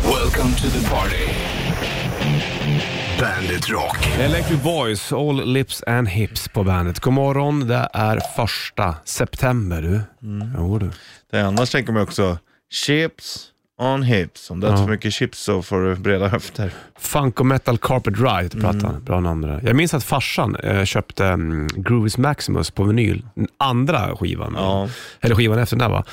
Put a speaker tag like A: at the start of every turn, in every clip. A: Welcome to the party. Bandit Rock.
B: Electric Voice, All Lips and Hips på bandet. God morgon, det är första september du.
C: Mm.
B: Jo, du.
C: Det är, annars tänker man också chips on hips. Om det är
B: Ja.
C: för mycket chips så får du breda höfter.
B: Funk och metal Carpet Ride
C: Mm.
B: heter plattan. Bra namn det där. Jag minns att farsan eh, köpte mm, Groovies Maximus på vinyl, den andra skivan.
C: Ja.
B: Eller skivan efter den där va.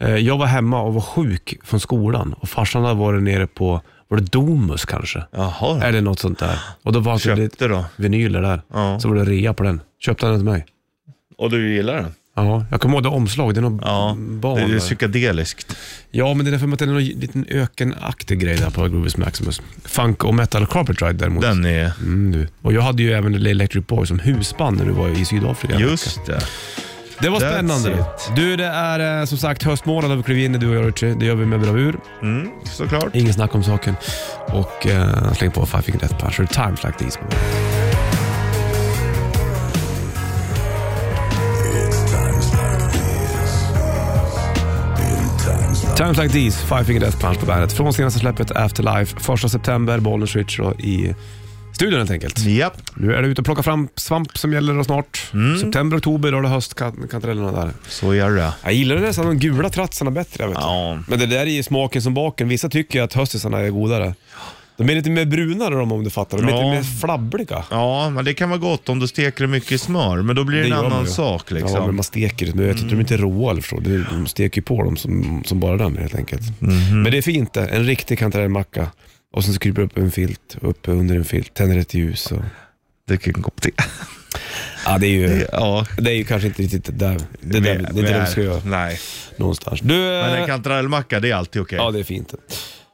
B: Eh, jag var hemma och var sjuk från skolan och farsan hade varit nere på, var det Domus kanske?
C: Jaha,
B: Eller något sånt där. Och då var det lite
C: köpte då.
B: vinyler där.
C: Ja.
B: Så var det rea på den. Köpte han den till mig.
C: Och du gillar den?
B: Ja, jag kommer ihåg det omslag. Det är någon
C: Ja,
B: barn
C: det är ju
B: där.
C: psykedeliskt.
B: Ja, men det är för mig att det är någon liten ökenaktig grej där på Groovies Maximus. Funk och metal carpet ride däremot.
C: Den är,
B: Mm, du. Och jag hade ju även Lille Electric Boy som husband när du var i Sydafrika. en vecka.
C: just det.
B: Det var
C: That's
B: spännande.
C: it.
B: Du, det är eh, som sagt höstmånad har vi klivit in i, du och jag Richie. Det gör vi med bravur.
C: Mm, såklart.
B: Ingen snack om saken. Och eh, släng på Five Finger Death Punch. Times like these. på bandet. Times like these, Five Finger Death Punch på bandet. Från senaste släppet Afterlife, första september, Bollnäs Rich då i studion helt enkelt.
C: Japp.
B: Nu är det ute och plocka fram svamp som gäller då snart. September, oktober, då har du höstkantarellerna där.
C: Så gör det.
B: Jag gillar nästan de gula tratsarna bättre. Vet du.
C: Ja.
B: Men det där är ju smaken som baken. Vissa tycker ju att höstisarna är godare. De är lite mer brunare de, om du fattar. De är
C: Ja.
B: lite mer flabbliga.
C: Ja, men det kan vara gott om du steker det mycket i smör, men då blir det,
B: gör
C: en
B: man
C: annan
B: ju.
C: sak
B: Ja, men
C: liksom.
B: man steker det. Men jag tycker de är inte råa eller så. Det- De steker ju på dem som, som bara den helt enkelt.
C: Mhm.
B: Men det är fint det. En riktig kantarellmacka. Och sen kryper upp en filt, upp under en filt, tänder ett ljus. Och...
C: Det kan gå till.
B: Ja, det är ju...
C: Ja.
B: Det är ju kanske inte riktigt där, det, där, det, är det,
C: Nej,
B: de ska göra
C: Nej,
B: någonstans. Du,
C: men en
B: eh,
C: kantarellmacka det är alltid okej.
B: ja det är fint.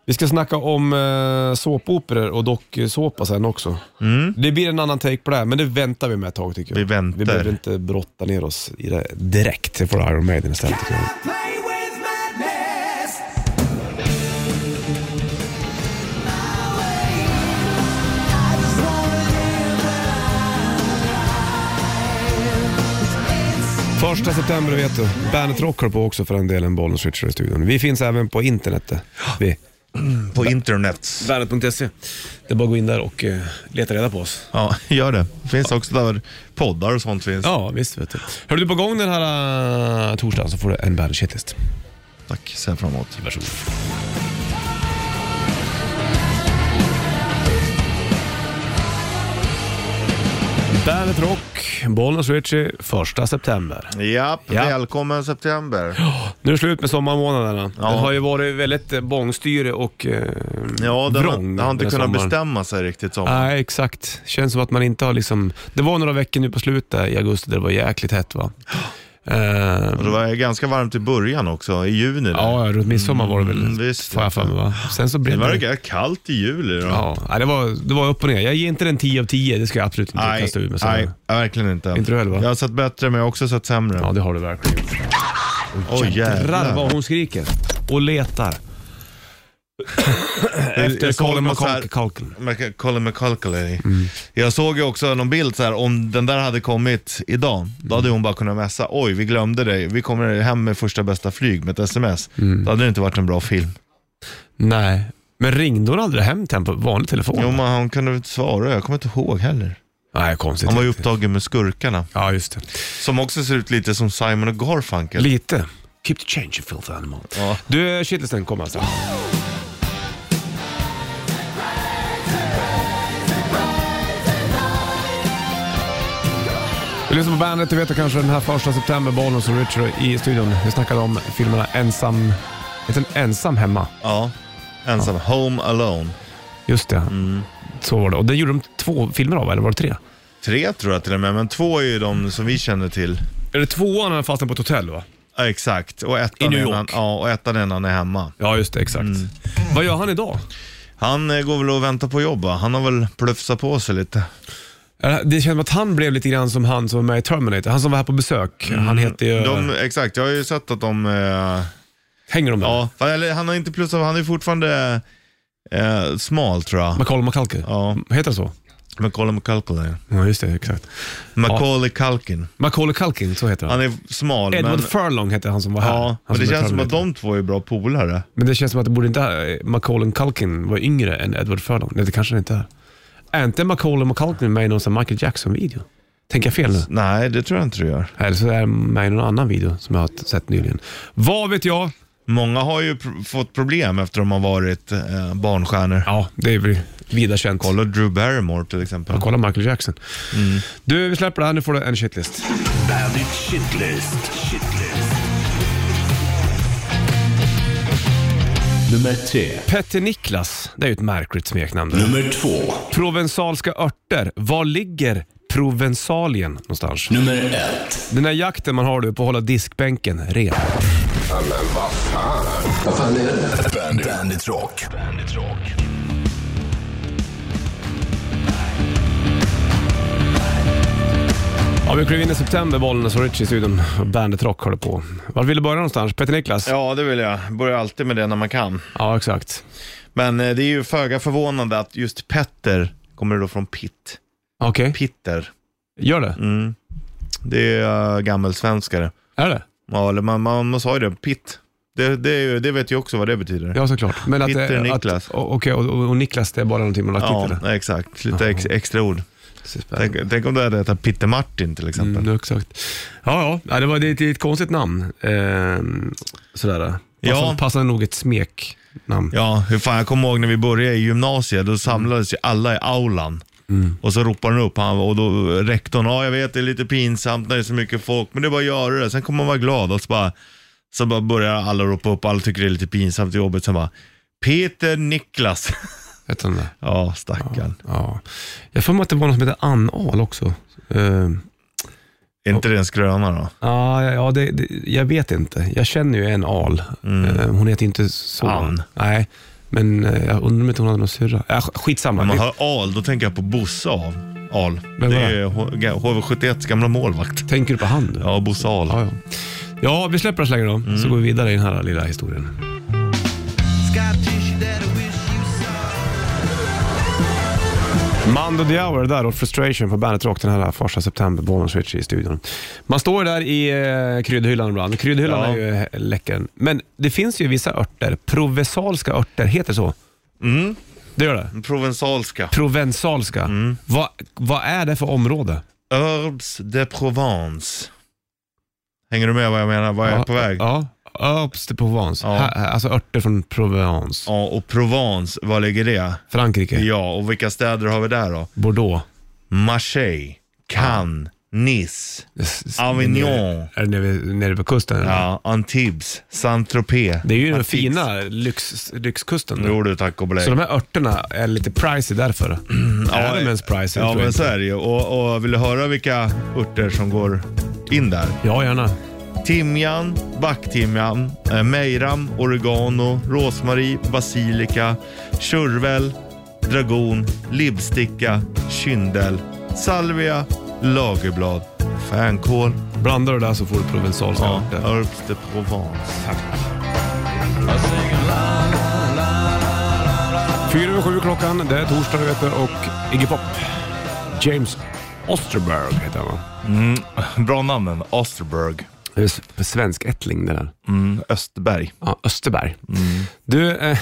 B: Vi ska snacka om eh, såpoperor och dokusåpa sen också. Det blir en annan take på det här, men det väntar vi med ett tag tycker jag.
C: Mm. Vi väntar.
B: Vi behöver inte brotta ner oss i det direkt. Det får Iron Maiden istället. tycker jag.
D: Play with madness.
B: Första september vet du. Bandet Rock har på också för den delen, Bollen Switcher i studion. Vi finns även på internet. eh, Vi.
C: På internet.
B: Bandet.se. Det är bara att gå in där och eh, leta reda på oss.
C: Ja, gör det. Finns också där poddar och sånt finns.
B: Ja, visst vet du. Hör du på gång den här uh, torsdagen så får du en Bandit Shitlist.
C: Tack, ser jag fram emot.
B: Varsågod. Bandet Rock, Bollnäs Ritchie, första september.
C: Japp,
B: Ja.
C: välkommen september.
B: Nu är det slut med sommarmånaderna.
C: Ja.
B: Det har ju varit väldigt eh, bångstyre och eh,
C: Ja, den,
B: vrång.
C: den har inte
B: den här
C: kunnat
B: sommaren. Ah.
C: bestämma sig riktigt som.
B: Nej, exakt. Känns som att man inte har liksom... Det var några veckor nu på slutet i augusti där det var jäkligt hett va. Eh,
C: Och det var ganska varmt i början också, i juni. där.
B: Ja, ja, runt midsommar var det väl,
C: Mm, visst.
B: får jag för mig. Va? Sen så
C: Det
B: blev
C: var
B: det...
C: ganska kallt i juli då.
B: Ja, nej, det, var, det var upp och ner. Jag ger inte den 10 av 10, det ska jag absolut inte
C: Nej,
B: kasta ut med. så.
C: nej, verkligen inte.
B: Inte du heller, va?
C: Jag har sett bättre men jag har också sett sämre.
B: Ja, det har du verkligen gjort.
C: Oj
B: Jävlar
C: jävlar.
B: vad hon skriker och letar. Efter
C: jag såg
B: Colin
C: något så här-
B: McCalkin.
C: Mac- Colin McCulkeley. Jag såg ju också någon bild så här, om den där hade kommit idag,
B: Mm.
C: då hade hon bara kunnat messa, oj vi glömde dig, vi kommer hem med första bästa flyg med ett sms.
B: Mm.
C: Då hade det inte varit en bra film.
B: Nej, men ringde hon aldrig hem till henne på vanlig telefon?
C: Jo men han kunde inte svara, jag kommer inte ihåg heller.
B: nej, konstigt.
C: Han var ju upptagen med skurkarna,
B: Ja, just det.
C: som också ser ut lite som Simon och Garfunkel.
B: Lite. Keep the change you filthy animal.
C: Ja.
B: Du, shitlisten kommer alltså. Du lyssnar på bandet, du vet att kanske den här första september, Bollnäs och Richard i studion. Vi snackade om filmerna Ensam, heter den Ensam hemma?
C: Ja, ensam. Home Alone.
B: Just det, så var det. Och den gjorde de två filmer av, eller var det tre?
C: Tre tror jag till och med, men två är ju de som vi känner till.
B: Är det tvåan när han fastnade på ett hotell va?
C: Ja, exakt. Och
B: I
C: ettan
B: New
C: är
B: York.
C: han- Ja, och ettan är när han är hemma.
B: Ja, just det, exakt. Vad gör han idag?
C: Han eh, går väl och väntar på jobb va? Han har väl plufsat på sig lite.
B: Det känns som att han blev lite grann som han som var med i Terminator. Han som var här på besök. Han heter ju...
C: Mm. De, exakt, jag har ju sett att de... Eh,
B: Hänger de där?
C: ja, fan, eller han har inte plussat, han är fortfarande eh, smal tror jag.
B: Macaulay McCulkey?
C: Ja,
B: Heter det så?
C: Macaulay McCulkin.
B: Ja, just det. Exakt.
C: Macaulay Culkin.
B: Macaulay Culkin, så heter han.
C: Han är smal.
B: Edward
C: men,
B: Furlong heter han som var här.
C: ja,
B: Han
C: men det
B: är
C: känns som
B: Furlong
C: att
B: heter.
C: de två är bra polare.
B: Men det känns som att det borde inte... eh, Macaulay Culkin var yngre än Edward Furlong. Nej, det kanske han inte är. Är inte Macaulay McCulkin med i någon sån Michael Jackson-video? Tänker jag fel nu?
C: Nej, det tror jag inte du gör.
B: Eller så är han med i någon annan video som jag har sett nyligen. Vad vet jag?
C: Många har ju pr- fått problem efter de har varit eh, barnstjärnor.
B: Ja, det är väl vida känt. Kolla,
C: Kolla Drew Barrymore till exempel.
B: kolla Michael Jackson.
C: Mm.
B: Du, vi släpper det här. Nu får du en shitlist.
A: Bandit Shitlist. Shitlist. Nummer tre.
B: Petter Niklas, det är ju ett märkligt smeknamn. det.
A: Nummer två.
B: Provensalska örter. Var ligger Provensalien någonstans?
A: Nummer ett.
B: Den här jakten man har du på att hålla diskbänken ren.
A: Bandit. Bandit Rock. Bandit Rock.
B: Ja, vi klev in i september, Bollnäs och Richie i studion. Bandet Rock håller på. Var vill du börja någonstans? Petter Niklas?
C: Ja, det vill jag. Börjar alltid med det när man kan.
B: Ja, exakt.
C: Men eh, det är ju föga förvånande att just Petter kommer då från Pitt.
B: Okej,
C: Pitter.
B: gör det.
C: Mm. Det är uh, gammelsvenskare.
B: Är det?
C: Ja, eller man, man, man sa ju det, Pitt. Det, det, är ju- det vet jag också vad det betyder.
B: Ja, såklart. Men att, eh,
C: Petter
B: att-
C: Niklas.
B: o- Okej, och, och, och Niklas, det är bara någonting man lagt
C: Ja,
B: till det?
C: exakt. Lite ex, extra ord. Tänk, tänk om du hade hetat Pitter Martin till exempel.
B: Mm, exakt. Ja, ja. ja det var det är ett, det är ett konstigt namn. Ehm, sådär. Passar,
C: Ja.
B: passar nog ett smeknamn.
C: Ja, hur fan, jag kommer ihåg när vi började i gymnasiet, då samlades ju alla i aulan.
B: Mm.
C: Och så ropade han upp, han, och då rektorn, ja jag vet det är lite pinsamt när det är så mycket folk, men det är bara att göra det. Sen kommer man vara glad och så bara, så bara börjar alla ropa upp, alla tycker det är lite pinsamt i jobbet. Sen bara, Peter Niklas.
B: Vet du den där?
C: ja, stackarn.
B: Ja. Jag får mig att det var någon som hette Ann-Ahl också. Ehm,
C: Är inte det en skröna då?
B: Ja, ja det, det, jag vet inte. Jag känner ju en al. Eh, Hon heter inte så.
C: Ann.
B: Nej, men eh, jag undrar om inte hon hade någon syrra. Äh, sk- skitsamma.
C: När man
B: Vi-
C: hör Al, då tänker jag på Bosse Al. Al.
B: Vem
C: Det
B: var det?
C: är H- HV71 gamla målvakt.
B: Tänker du på han du?
C: Ja, Bosse Al.
B: Ja, ja. ja vi släpper det så länge då,
C: Mm.
B: så går vi vidare i den här lilla historien. Mando Diao där och Frustration på Bandet Rock den här första september, Bollnäs Ritchie i studion. Man står ju där i eh, kryddhyllan ibland. Kryddhyllan
C: Ja.
B: är ju eh, läcker. Men det finns ju vissa örter, provensalska örter, heter det så?
C: Mm.
B: Det gör det?
C: Provensalska.
B: Provensalska.
C: Mm.
B: Vad, vad är det för område?
C: Herbs de Provence. Hänger du med vad jag menar? Vad jag är på väg? Ja.
B: Ja, Örps de Provence.
C: Ja.
B: Ha- Alltså örter från Provence.
C: och Provence, var ligger det?
B: Frankrike,
C: Ja, och vilka städer har vi där då?
B: Bordeaux,
C: Marseille, Cannes, Nice,
B: S- s-
C: Avignon,
B: Är det nere, nere på kusten? eller?
C: ja, Antibes, Saint-Tropez.
B: Det är ju den
C: Antibes.
B: fina lyx, lyxkusten.
C: Jo du, tack och belägg.
B: Så de här örterna är lite pricey därför. är de ens pricey?
C: Ja,
B: tror jag
C: men
B: inte.
C: så är det ju. Och, och vill du höra vilka örter som går in där?
B: Ja, gärna.
C: Timjan, backtimjan, eh, mejram, oregano, rosmarin, basilika, tjurvel, dragon, lipsticka, kyndel, salvia, lagerblad, fänkål.
B: Blandar du det där så får du provensalska
C: Ja,
B: örter.
C: Herbs de Provence.
B: Fyra över sju klockan, det är torsdag du vet du, och Iggy Pop. James Osterberg heter han va?
C: Bra namnen. Osterberg.
B: Det är s- svensk ättling det där.
C: Mm, Östberg.
B: Ja, Österberg. Du eh,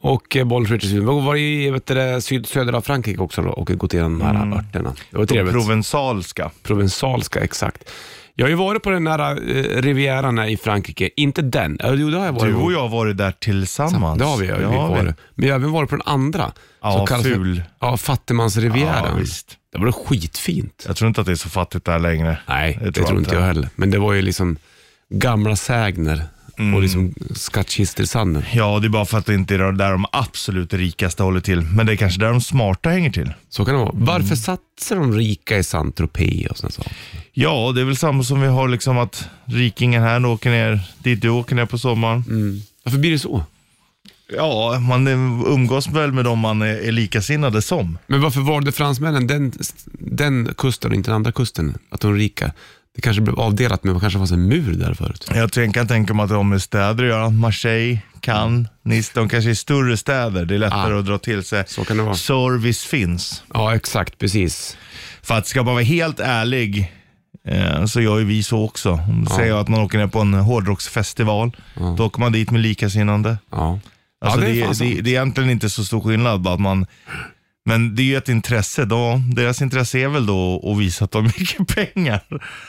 B: och eh, Bollnäs Ritchie, vi var i vet du, det, syd, södra Frankrike också då, och gått igenom de här örterna. Det var
C: Mm. De
B: trevligt.
C: provensalska.
B: Provensalska, exakt. Jag har ju varit på den här eh, Rivieran här i Frankrike. Inte den. Eh, Jo, det har jag varit
C: Du
B: på.
C: och jag har varit där tillsammans.
B: Det har vi, ja, vi har
C: vi.
B: varit. Men jag har även varit på den andra.
C: Ja,
B: som kallas för-
C: ful.
B: Ja, fattigmansrivieran.
C: Ja, visst.
B: Det var skitfint.
C: Jag tror inte att det är så fattigt där längre.
B: Nej, det,
C: Det tror
B: tror
C: jag
B: inte jag
C: inte.
B: heller. Men det var ju liksom gamla sägner
C: Mm.
B: och liksom skattkistor i sanden.
C: Ja, det är bara för att det inte är där de absolut rikaste håller till. Men det är kanske där de smarta hänger till.
B: Så kan det vara. Varför satte sig de rika i Saint-Tropez och sådana saker?
C: Ja, det är väl samma som vi har liksom att rikingen här åker ner dit du åker ner på sommaren.
B: Mm. Varför blir det så?
C: Ja, man umgås väl med dem man är är likasinnade som.
B: Men varför valde fransmännen den, den kusten och inte den andra kusten? Att de rika? Det kanske blev avdelat, men det kanske fanns en mur där förut.
C: Jag tänk- kan tänka mig att de är städer att göra. Marseille, Cannes, Nice. De kanske är större städer. Det är lättare
B: Ah.
C: att dra till sig.
B: Så kan det vara.
C: Service finns.
B: Ja, exakt. Precis.
C: För att ska man vara helt ärlig eh, så gör ju vi så också. Om Säger jag att man åker ner på en hårdrocksfestival, då åker man dit med likasinnande.
B: Ja.
C: Alltså
B: ja,
C: det,
B: fan
C: är
B: sant.
C: det, det är egentligen inte så stor skillnad. Bara att man, men det är ju ett intresse. Då, deras intresse är väl då att visa att de har mycket pengar.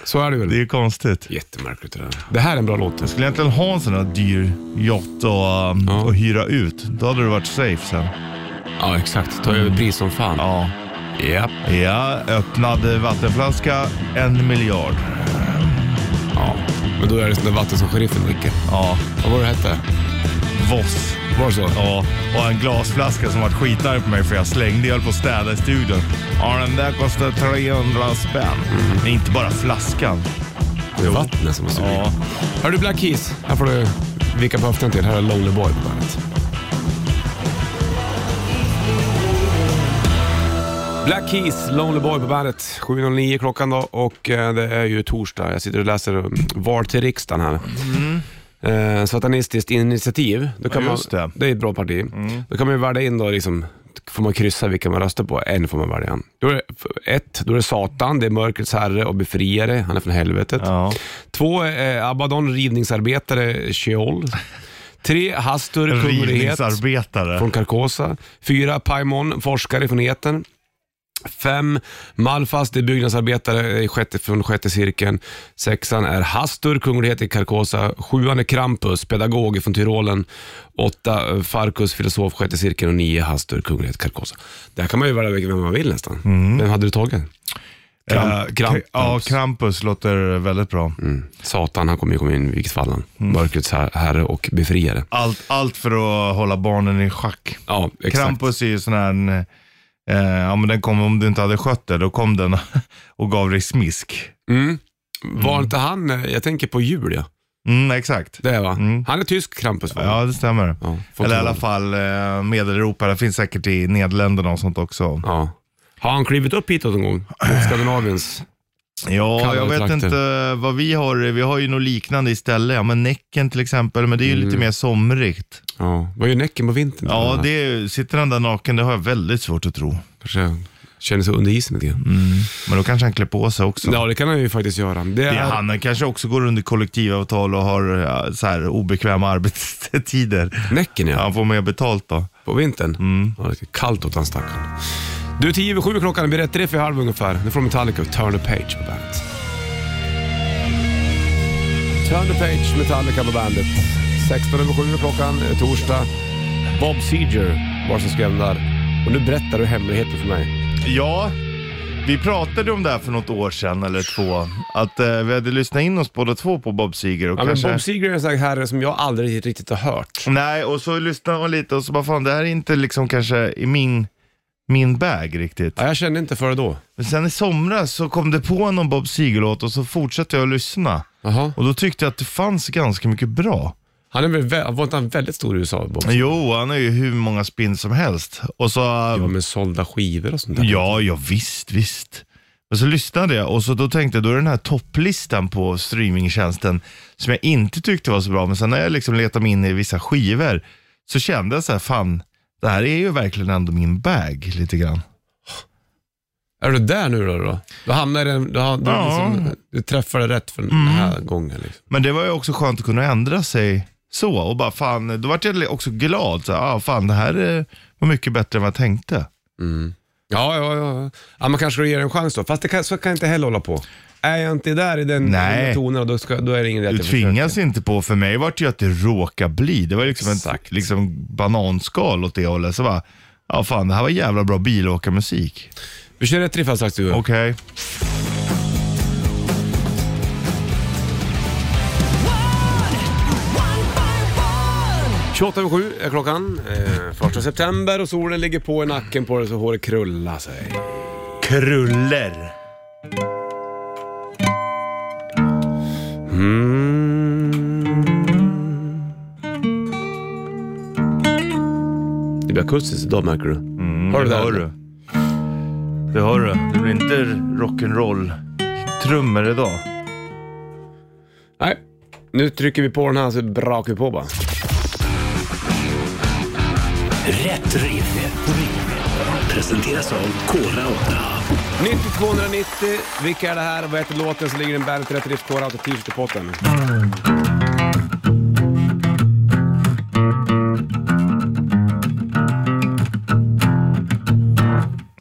B: Så är det väl.
C: Det är ju konstigt.
B: Jättemärkligt det där. Det här är en bra låt.
C: Skulle jag egentligen ha en sån här dyr yacht och, um,
B: Ja.
C: och hyra ut, då hade det varit safe sen.
B: Ja, exakt. Ta över pris som fan.
C: Ja.
B: Japp.
C: ja, öppnad vattenflaska, en miljard.
B: Ja. Men då är det sånt där vatten som sheriffen dricker.
C: Ja,
B: Vad var det hette?
C: Voss.
B: Var det så?
C: Ja, och en glasflaska som vart skitare på mig för jag slängde, jag höll på att städa i studion. Ja, den där kostar 300 spänn. Men inte bara flaskan.
B: Det är vattnet som har sugit.
C: Ja.
B: Hör du Black Keys? Här får du vicka på höften till. Här är Lonely Boy på bandet. Black Keys, Lonely Boy på bandet. 7.09 klockan då och eh, det är ju torsdag. Jag sitter och läser eh, VAR till riksdagen här. Eh, Satanistiskt initiativ. Då kan
C: Mm. Ja,
B: man,
C: just det. Mm.
B: är ett bra parti. Då kan man ju välja in då liksom, får man kryssa vilka man röstar på. En får man välja. Då är det, ett, då är det Satan, det är mörkrets herre och befriare. Han är från helvetet.
C: Ja.
B: Två, eh, Abaddon rivningsarbetare, Sheol. Tre, Hastur, kunglighet
C: Rivningsarbetare.
B: från Carcosa. Fyra, Paimon, forskare från Etern. Fem, Malfas, det är byggnadsarbetare i sjätte, från sjätte cirkeln. Sexan är Hastur, kunglighet i Carcosa. Sjuan är Krampus, pedagog från Tyrolen. Åtta, eh, Farkus, filosof, sjätte cirkeln. Och nio, Hastur, kunglighet i Carcosa. Där kan man ju välja vilken- vem man vill nästan. Vem hade du tagit? Kramp,
C: Eh,
B: Krampus. Mm.
C: Ja, Krampus låter väldigt bra.
B: Satan, han kommer ju komma in i vilket fall han. Mörkrets her- herre och befriare.
C: Allt, allt för att hålla barnen i schack.
B: Ja, exakt.
C: Krampus är ju sån här, en, eh, ja men den kom om du inte hade skött det, då kom den och gav dig smisk.
B: Mm. Var inte han, eh, jag tänker på Julia.
C: Mm, exakt.
B: Det är va?
C: Mm.
B: Han är tysk Krampus va?
C: Ja, det stämmer.
B: Ja, folk-
C: Eller i alla fall eh, Medeleuropa, det finns säkert i Nederländerna och sånt också.
B: Ja. Har han klivit upp hitåt någon gång? Mot Skandinaviens?
C: Ja,
B: Kallare
C: jag vet
B: trakter.
C: inte vad vi har. Vi har ju något liknande istället. Ja, men Näcken till exempel, men det är ju
B: Mm.
C: lite mer somrigt.
B: Ja. Vad gör Näcken på vintern?
C: Ja,
B: Han
C: det är, sitter han där naken, det har jag väldigt svårt att tro.
B: Kanske känner sig under isen lite
C: Mm.
B: grann.
C: Men då kanske han klär på sig också.
B: Ja, det kan han ju faktiskt göra. Det är,
C: Det är han Han kanske också går under kollektivavtal och har ja, så här, obekväma arbetstider.
B: Näcken ja.
C: Han får mer betalt då.
B: På vintern? Ja, det är kallt åt han stackarn. Du, 10 över 7 klockan. Det blir rätt tre för halv ungefär. Nu får Metallica och Turn the Page på bandet. Turn the Page, Metallica på bandet. 16 över 7 klockan, eh, torsdag. Bob Seger var som skrev den där. Och nu berättar du hemligheter för mig.
C: Ja, vi pratade om det här för något år sedan eller två. Att eh, vi hade lyssnat in oss båda två på Bob Seger. Och
B: Ja, men
C: kanske...
B: Bob Seger är en sån här herre som jag aldrig riktigt har hört.
C: Nej, och så lyssnade man lite och så bara fan det här är inte liksom kanske i min, min bag riktigt.
B: Ja, jag kände inte för det då.
C: Men sen i somras så kom det på någon Bob Seger-låt och så fortsatte jag att lyssna.
B: Jaha.
C: Och då tyckte jag att det fanns ganska mycket bra.
B: Han är väl, vä- var inte han väldigt stor i USA, Bob? Seger?
C: Jo, han har ju hur många spinn som helst. Och så,
B: Ja, men sålda skivor och sånt där.
C: ja, ja visst, visst. Men så lyssnade jag och så då tänkte jag, då är den här topplistan på streamingtjänsten som jag inte tyckte var så bra, men sen när jag liksom letade mig in i vissa skivor så kände jag så här, fan, det här är ju verkligen ändå min bag lite grann.
B: Är du där nu då? Då, då hamnar i den, du, har, du,
C: Ja. Mm.
B: liksom, du träffade rätt för den här gången. Liksom.
C: Men det var ju också skönt att kunna ändra sig så och bara fan, då vart jag också glad. Så, här, ah, fan, det här eh, var mycket bättre än vad jag tänkte.
B: Ja, ja, ja. ja, man kanske ska ge den en chans då. Fast det kan, så kan jag inte heller hålla på. Är jag inte där i den
C: Nej.
B: i den tonen, då, ska, då är det ingen rätt
C: Du tvingas inte på, för mig vart det ju att det råkade bli. Det var liksom ett
B: Exakt.
C: liksom bananskal åt det hållet. Så bara, ja fan det här var jävla bra bilåkarmusik.
B: Vi kör rätt riff alldeles strax du. Och
C: Okej.
D: One.
B: 28 över 7 är klockan. Eh, första september och solen ligger på i nacken på dig så håret krullar sig.
C: Kruller.
B: Mm. Det blir akustiskt idag märker du. har du
C: Det
B: det?
C: Mm, hör du. Det hör du. Det blir inte rock'n'roll-trummor idag.
B: Nej, nu trycker vi på den här så brakar vi på bara.
A: Rätt riff. Presenteras av Kora 8.
B: 9290, vilka är det här? Vad heter låten? Så ligger det en Bandet Rätt Riff Core Auto t-shirt i potten.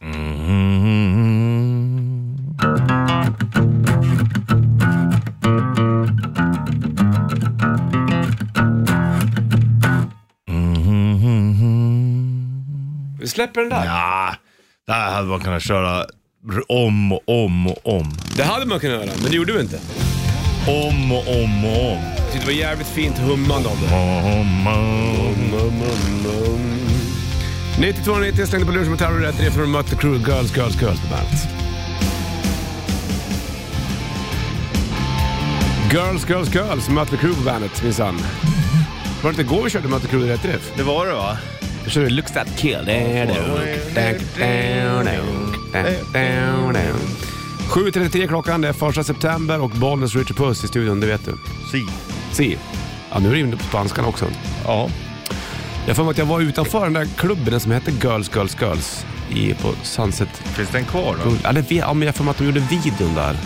C: Mm-hmm.
B: Vi släpper den där.
C: Ja, det här hade man kunnat köra r- om och om och om.
B: Det hade man kunnat göra, men det gjorde vi inte.
C: Om och om och om.
B: Jag tyckte det var jävligt fint hummande av det.
C: om, om.
B: 9290 jag slängde på lunch med Terror Rätt Riff från Mötley Crüe, Girls, Girls, Girls på bandet. Girls, Girls, Girls, Mötley Crüe på bandet minsann. Var det inte igår vi körde Mötley Crüe Rätt Riff?
C: Det var det va?
B: Då körde vi Looks That Kill. 7.33 klockan, det är 1 september och Bollnäs Richard Puss i studion, det vet du.
C: Si.
B: Si. Ja, nu är det inne på spanskan också.
C: Ja.
B: Jag får mig att jag var utanför den där klubben som hette Girls, Girls, Girls i, på Sunset.
C: Finns den kvar då?
B: Bull. Ja, det, vet- ja, men jag får mig att de gjorde videon där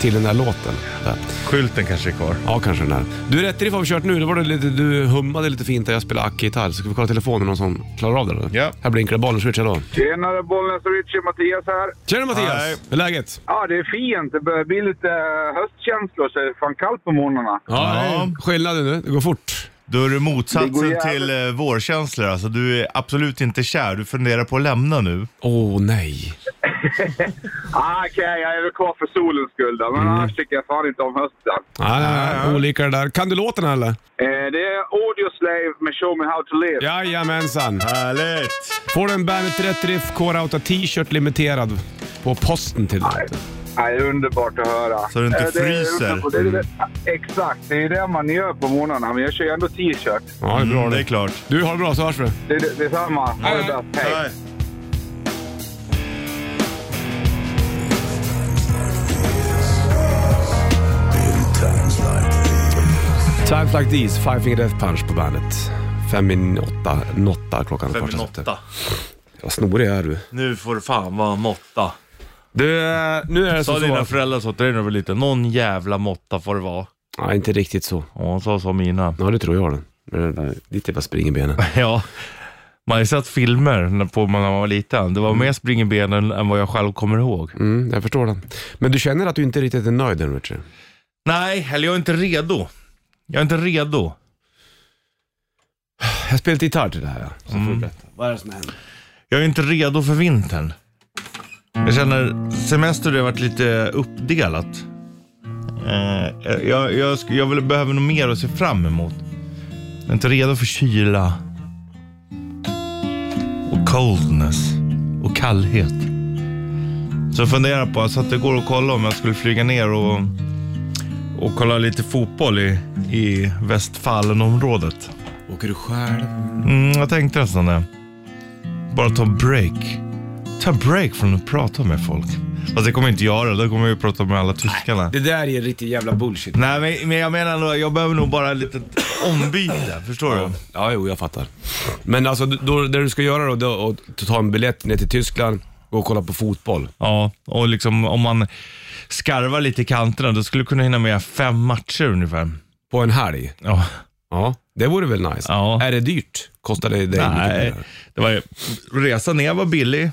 B: till den där låten. Där.
C: Skylten kanske är kvar.
B: Ja, kanske den här. Du, Rätt Riff har vi kört nu. Det var det lite, du hummade lite fint där jag spelade ackgitarr. Ska vi kolla telefonen, någon som klarar av det? Eller?
C: Ja.
B: Här blinkar det. Bollnäs Richard, hallå.
E: Tjenare Bollnäs och Richie, Mattias här.
B: Tjena Mattias!
C: Hej.
B: Hur är läget?
E: Ja, det är fint. Det börjar bli lite eh, höstkänslor så det är fan kallt på morgnarna.
B: Ja,
C: Ja.
B: det är skillnaden nu. Det går fort.
C: Då är du
E: Det går
C: motsatsen
E: jävligt-
C: till eh, vårkänslor. Alltså, du är absolut inte kär. Du funderar på att lämna nu.
B: Åh oh, nej.
E: Ah, Okej, jag är väl kvar för solens skull då, men annars tycker jag fan inte om hösten.
B: Nej, nej, nej. Olika det där. Kan du låten eller?
E: Eh, det är Audioslave med Show Me How To Live.
B: Jajamensan.
C: Härligt!
B: Får du en Bandet Rätt Riff Core T-shirt limiterad på posten till dig.
E: Nej, det är underbart att höra.
C: Så du inte
E: Eh, det är-
C: fryser.
E: Det är, exakt, det är det man gör på morgnarna, men jag kör ju ändå t-shirt.
B: Ja, det är bra
C: Mm, det är
B: det.
C: klart.
B: Du, har det bra så hörs vi.
E: Det, det, det är samma. Ha det bäst. Hej.
C: Hej.
B: Times Like These, Five Finger Death Punch på bandet. Fem i åtta, notta klockan.
C: Fem i
B: första september.
C: åtta.
B: Vad snorig är du.
C: Nu får du fan vara måtta.
B: Du, eh, nu är det
C: Sa
B: så.
C: dina
B: så
C: föräldrar så till dig när du var liten? Någon jävla måtta får det vara.
B: ja, inte riktigt så.
C: Ja, hon sa så mina.
B: Ja, det tror jag det. Men det. Ditt jävla spring i benen.
C: Ja. Man har ju sett filmer när- på när man var liten. Det var mer spring i benen än vad jag själv kommer ihåg.
B: Mm, jag förstår det. Men du känner att du inte riktigt är nöjd än, Richard?
C: Nej, eller jag är inte redo. Jag är inte redo.
B: Jag har spelat gitarr till det här. Ja. Så får du berätta. Vad är det som händer?
C: Jag är inte redo för vintern. Jag känner, semester det har varit lite uppdelat. Eh, jag, jag, sk- jag vill, behöver nog mer att se fram emot. Jag är inte redo för kyla. Och coldness. Och kallhet. Så jag funderar på, så att det går att kolla om jag skulle flyga ner och, och kolla lite fotboll i, i Västfallenområdet.
B: Åker du själv?
C: Mm, jag tänkte nästan det. Bara ta break. Ta break från att prata med folk. Fast det kommer jag inte göra. Då kommer jag ju prata med alla tyskarna. Nej,
B: Det där är riktigt jävla bullshit.
C: men, men jag menar nog, jag behöver nog bara ett litet ombyte. Förstår du?
B: Ja, jo, jag fattar. Men alltså, då, det du ska göra då, då är att ta en biljett ner till Tyskland och kolla på fotboll.
C: Ja, och liksom om man skarvar lite i kanterna, då skulle du kunna hinna med fem matcher ungefär.
B: På en helg.
C: Ja.
B: Ja, det vore väl nice.
C: Ja.
B: Är det dyrt? Kostar det dig mycket
C: Nej,
B: pengar?
C: det var ju, resan ner var billig.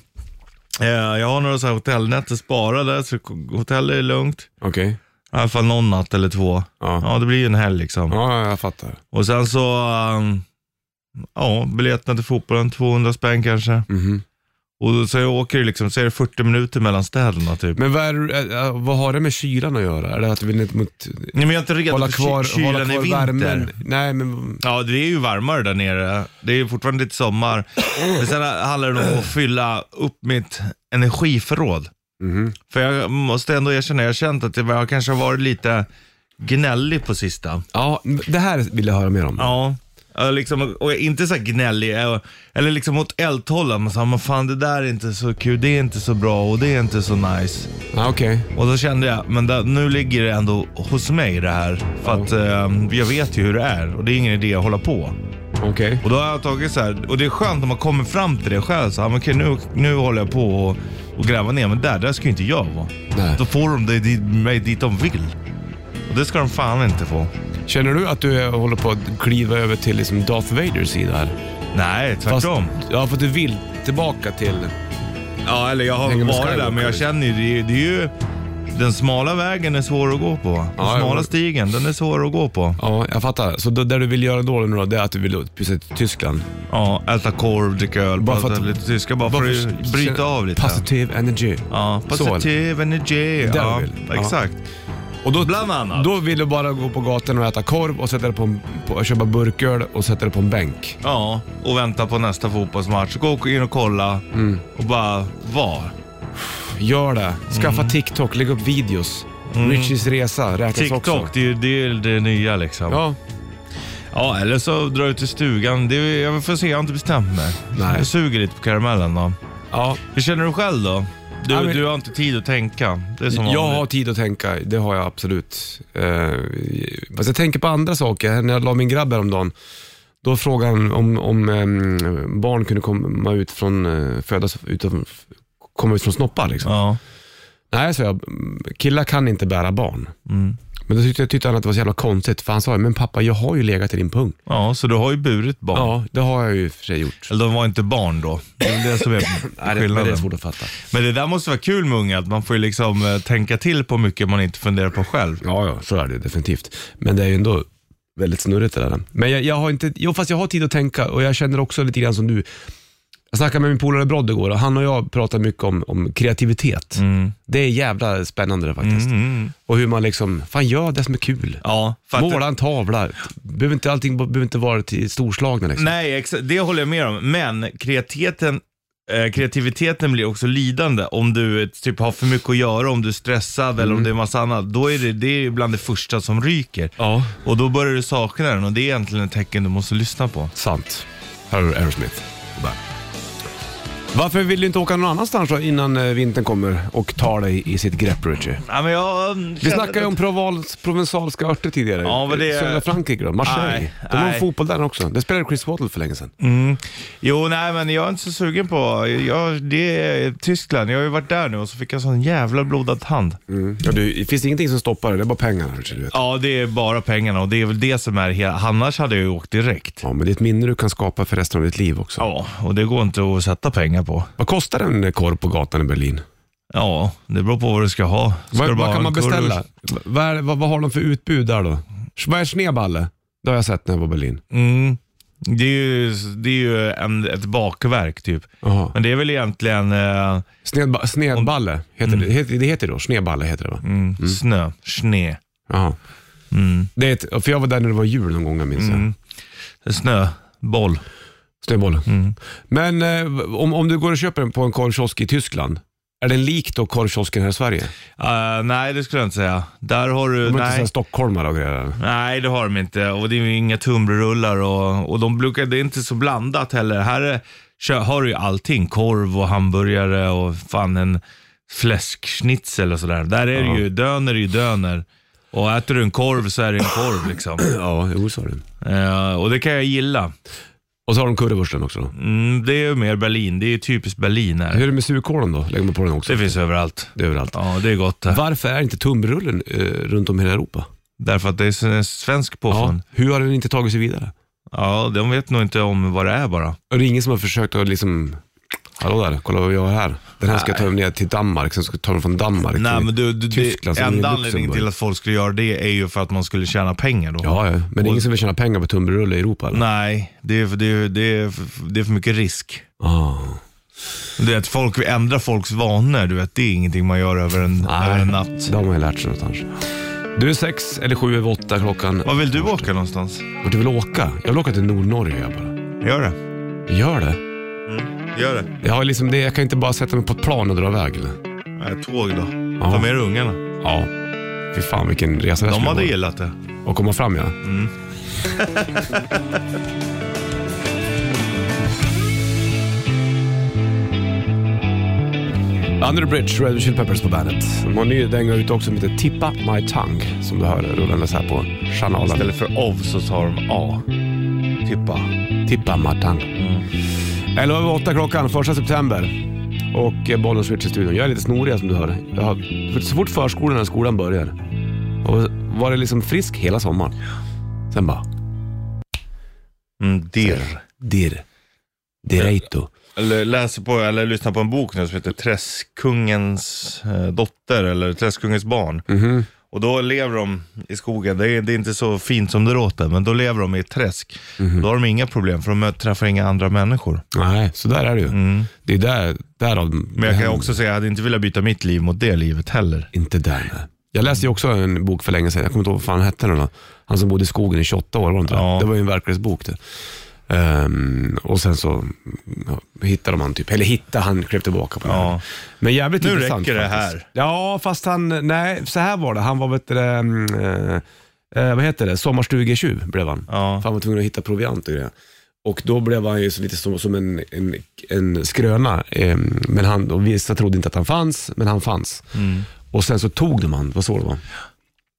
C: Eh, Jag har några så här hotellnätter sparade, så hotell är lugnt.
B: Okej.
C: I alla fall någon natt eller två.
B: Ja.
C: Ja, det blir ju en helg liksom.
B: Ja, jag fattar.
C: Och sen så, ehm, ja, biljetterna till fotbollen, 200 spänn kanske.
B: Mhm.
C: Och då- så jag åker ju liksom, så är det 40 minuter mellan städerna typ.
B: Men vad, är, eh, eh, vad har det med kylan att göra? Är det att du vill inte mot,
C: Nej men jag är inte redo
B: hålla
C: för
B: kvar,
C: ky- kylan
B: hålla
C: i
B: kvar
C: vinter.
B: värmen? Nej, men
C: Ja, det är ju varmare där nere. Det är ju fortfarande lite sommar. Men sen handlar det nog om att fylla upp mitt energiförråd.
B: Mhm.
C: För jag måste ändå erkänna, jag har känt att jag jag kanske har varit lite gnällig på sista.
B: ja, det här vill jag höra mer om.
C: Ja, eh, liksom, och jag är inte så här gnällig, eh, eller liksom åt eldhållet. Man sa, men fan det där är inte så kul, det är inte så bra och det är inte så nice.
B: Ja, okej.
C: Och då kände jag, men där, nu ligger det ändå hos mig det här. För att eh, jag vet ju hur det är och det är ingen idé att hålla på.
B: Okej.
C: Och då har jag tagit så här, och det är skönt när man kommer fram till det själv. Så, här, men okej, nu, nu håller jag på och, och gräva ner, men där, där ska ju inte jag vara.
B: Nej.
C: Då får de det, dit- mig dit de vill. Och det ska de fan inte få.
B: Känner du att du eh, håller på att kliva över till liksom Darth Vaders sida här?
C: Nej, tvärtom.
B: ja, för att du vill tillbaka till...
C: Ja, eller jag har
B: Hänger med
C: varit där,
B: Skywalker.
C: men jag känner ju, det, är- det är ju... Den smala vägen är svår att gå på. Den
B: Ja,
C: smala
B: jo.
C: stigen, den är svår att gå på.
B: Ja, jag fattar. Så det, det du vill göra då, nu då, det är att du vill pyssa till Tyskland?
C: Ja, äta korv, dricka öl,
B: Bara för
C: prata
B: att-
C: lite tyska. Bara för att bryta av lite.
B: Positiv energy.
C: Ja,
B: Så.
C: positiv energi.
B: Det
C: Ja,
B: vill. Ja.
C: exakt.
B: Och då,
C: Bland annat.
B: Då vill du bara gå på gatan och äta korv och sätta dig på en, på, köpa burköl och sätta dig på en bänk.
C: Ja, och vänta på nästa fotbollsmatch. Gå in och kolla
B: Mm.
C: och bara vara.
B: Gör det. Skaffa
C: Mm.
B: TikTok, lägg upp videos. Richies resa räknas också.
C: TikTok, det är ju det, är det nya liksom. Ja.
B: Ja,
C: eller så dra ut till stugan. Det, är- jag får se, jag har inte bestämt mig.
B: Nej.
C: Jag suger lite på karamellen då.
B: ja.
C: Hur känner du själv då? Du,
B: Ja, men-
C: du har inte tid att tänka. Det är som
B: Jag har
C: vanligt.
B: tid att tänka, det har jag absolut. Eh, fast jag tänker på andra saker. När jag la min grabb häromdagen, då frågade han om, om ehm, barn kunde komma ut från, eh, födas utan, komma ut från snoppar. Liksom.
C: Ja. Mm.
B: Nej, sa jag, killar kan inte bära barn. Men då tyckte, tyckte han att det var så jävla konstigt, för han sa ju, men pappa jag har ju legat i din pung.
C: ja, så du har ju burit barn.
B: Ja, det har jag ju i och för sig gjort.
C: Eller de var inte barn då. Det är väl det som är
B: Nej, det, men
C: skillnaden.
B: det är svårt att fatta.
C: Men det där måste vara kul med unga, att man får ju liksom eh, tänka till på mycket man inte funderar på själv.
B: Ja, ja, så är det ju definitivt. Men det är ju ändå väldigt snurrigt det där. Men jag, jag har inte, jo fast jag har tid att tänka och jag känner också lite grann som du. Jag snackade med min polare Brodd igår och han och jag pratar mycket om, om kreativitet.
C: Mm.
B: Det är jävla spännande det faktiskt. Och hur man liksom, fan gör det som är kul.
C: Ja, för att-
B: Måla en tavla. Behöver inte, allting behöver inte vara till storslagna liksom.
C: Nej, exa- det håller jag med om. Men kreativiteten, eh, kreativiteten blir också lidande om du eh, typ, har för mycket att göra, om du är stressad eller
B: Mm.
C: om det är massa annat. Då är det, det är bland det första som ryker.
B: Ja.
C: Och då börjar du sakna den och det är egentligen ett tecken du måste lyssna på.
B: Sant. Här har du Aerosmith. Där. Varför vill du inte åka någon annanstans då innan eh, vintern kommer och tar dig i sitt grepp, Richie?
C: Ja, men jag, mm,
B: Vi
C: känner
B: snackade ju om provals, provensalska örter tidigare.
C: Ja, men det-
B: Södra Frankrike då, Marseille.
C: Nej,
B: De har
C: nej.
B: fotboll där också. Det spelade Chris Waddle för länge sedan.
C: Jo, nej men jag är inte så sugen på, jag, det är Tyskland, jag har ju varit där nu och så fick jag sån jävla blodad hand.
B: Mm. Ja, du, det finns ingenting som stoppar det, det är bara pengarna. Richie, du vet.
C: Ja, det är bara pengarna och det är väl det som är hela, annars hade jag ju åkt direkt.
B: Ja, men det är ett minne du kan skapa för resten av ditt liv också.
C: Ja, och det går inte att sätta pengar på.
B: Vad kostar en eh, korv på gatan i Berlin?
C: Ja, det beror på vad du ska ha. Ska
B: Vad-
C: du bara
B: vad
C: ha en
B: kan man
C: kurv?
B: beställa? Va- Vad, är- vad, vad har de för utbud där då? Schweizerschneeballe, det har jag sett när jag var i Berlin.
C: Mm. Det är ju, det är ju en, ett bakverk typ.
B: Jaha.
C: Men det är väl egentligen eh,
B: Snedba snedballe, heter det, heter, det heter det då? Snedballe heter det va?
C: mm, snö, sne,
B: Jaha.
C: mm,
B: Det är ett, för jag var där när det var jul någon gång, jag minns jag.
C: Mm. snö, boll.
B: Snöboll.
C: Mm.
B: Men eh, om, om du går och köper den på en korvkiosk i Tyskland, är den lik då korvkiosken här i Sverige?
C: Eh, nej, det skulle jag inte säga. Där har du...
B: De är inte
C: Nej.
B: såhär stockholmare och grejer? eller?
C: Nej, det har de inte. Och det är ju inga tunnbrödsrullar och, och de brukar, det är inte så blandat heller. Här är, kö- har du ju allting. Korv och hamburgare och fan en fläskschnitzel och sådär. Där är det ju, döner är ju döner. Och äter du en korv så är det en korv liksom.
B: Ja, jo så är det.
C: Eh, och det kan jag gilla.
B: Och så har de currywursten också då.
C: Mm, det är ju mer Berlin. Det är ju typiskt Berlin här.
B: Hur är det med surkålen då? Lägger man på den också?
C: Det finns överallt.
B: Det är överallt.
C: Ja, det är gott. det.
B: Varför är inte tumbrullen eh, runt om i hela Europa?
C: Därför att det är s- en svensk
B: Ja.
C: påfund.
B: Hur har den inte tagit sig vidare?
C: Ja. de vet nog inte om vad det är bara.
B: Och det är ingen som har försökt att liksom, hallå där, kolla vad jag har här. Den här ska jag ta ner till Danmark, sen ska jag ta den från Danmark
C: Nej,
B: till
C: men du, du,
B: Tyskland.
C: det,
B: sen in i
C: enda anledningen
B: Luxemburg.
C: till att folk skulle göra det är ju för att man skulle tjäna pengar då.
B: Ja, ja, men det är ingen som vill tjäna pengar på tunnbrödsrulle i Europa eller?
C: Nej, det är, för, det, är, det, är för, det är för mycket risk.
B: Ah.
C: Det är att folk ändrar folks vanor, du vet, det är ingenting man gör över en, över en natt.
B: Det har man ju lärt sig någonstans. Du är sex eller sju över åtta klockan.
C: Vad vill du åka någonstans?
B: Vart du vill åka? Jag vill åka till Nordnorge jag bara.
C: Gör det.
B: Gör det.
C: Gör det.
B: Jag, har liksom det. jag kan inte bara sätta mig på ett plan och dra iväg. Eller?
C: Nej, tåg då.
B: Ja.
C: Ta med dig ungarna.
B: Ja. Fy fan vilken resa det
C: De
B: skulle
C: hade Mm.
B: vara.
C: gillat det.
B: Och komma fram ja. Under the Bridge, Red Hot Chili Peppers på bandet. De har en ny dänga ute också som heter Tippa My Tongue, som du hör rullandes här på kanalen.
C: Istället för of så tar de a. Tippa.
B: Tippa My Tongue. 11 över 8 klockan, första september. Och eh, bollen switch i studion. Jag är lite snorig som du hör. Jag har, för så fort förskolan eller skolan börjar, och var det liksom frisk hela sommaren. Sen bara,
C: Mm, dirr.
B: dirr. Direito.
C: Eller läser på, eller lyssnar på en bok nu som heter Träskungens eh, dotter eller Träskungens barn. Och då lever de i skogen, det är, det är inte så fint som det låter, men då lever de i ett träsk. Då har de inga problem för de mö- träffar inga andra människor.
B: Nej, så där är det ju. Det är där, därav
C: Mm. Men jag kan också säga att jag hade inte velat byta mitt liv mot det livet heller.
B: Inte där nej. Jag läste ju också en bok för länge sedan, jag kommer inte ihåg vad fan hette den då. Han som bodde i skogen i 28 år, var det inte
C: Ja.
B: det? Det var ju en verklighetsbok det. Ehm, och sen så ja, hittade man typ, eller hittade, han klev tillbaka på det.
C: Ja.
B: Men jävligt
C: Nu
B: intressant
C: räcker det
B: faktiskt.
C: här.
B: Ja, fast han, nej, så här var det. Han var, vet du, det, mm, eh, eh, vad heter det, sommarstugetjuv blev han.
C: Ja.
B: För han var tvungen att hitta proviant och grejer. Och då blev han ju så lite som, som en, en, en skröna. Eh, men han, och vissa trodde inte att han fanns, men han fanns.
C: Mm.
B: Och sen så tog de han, vad så det var.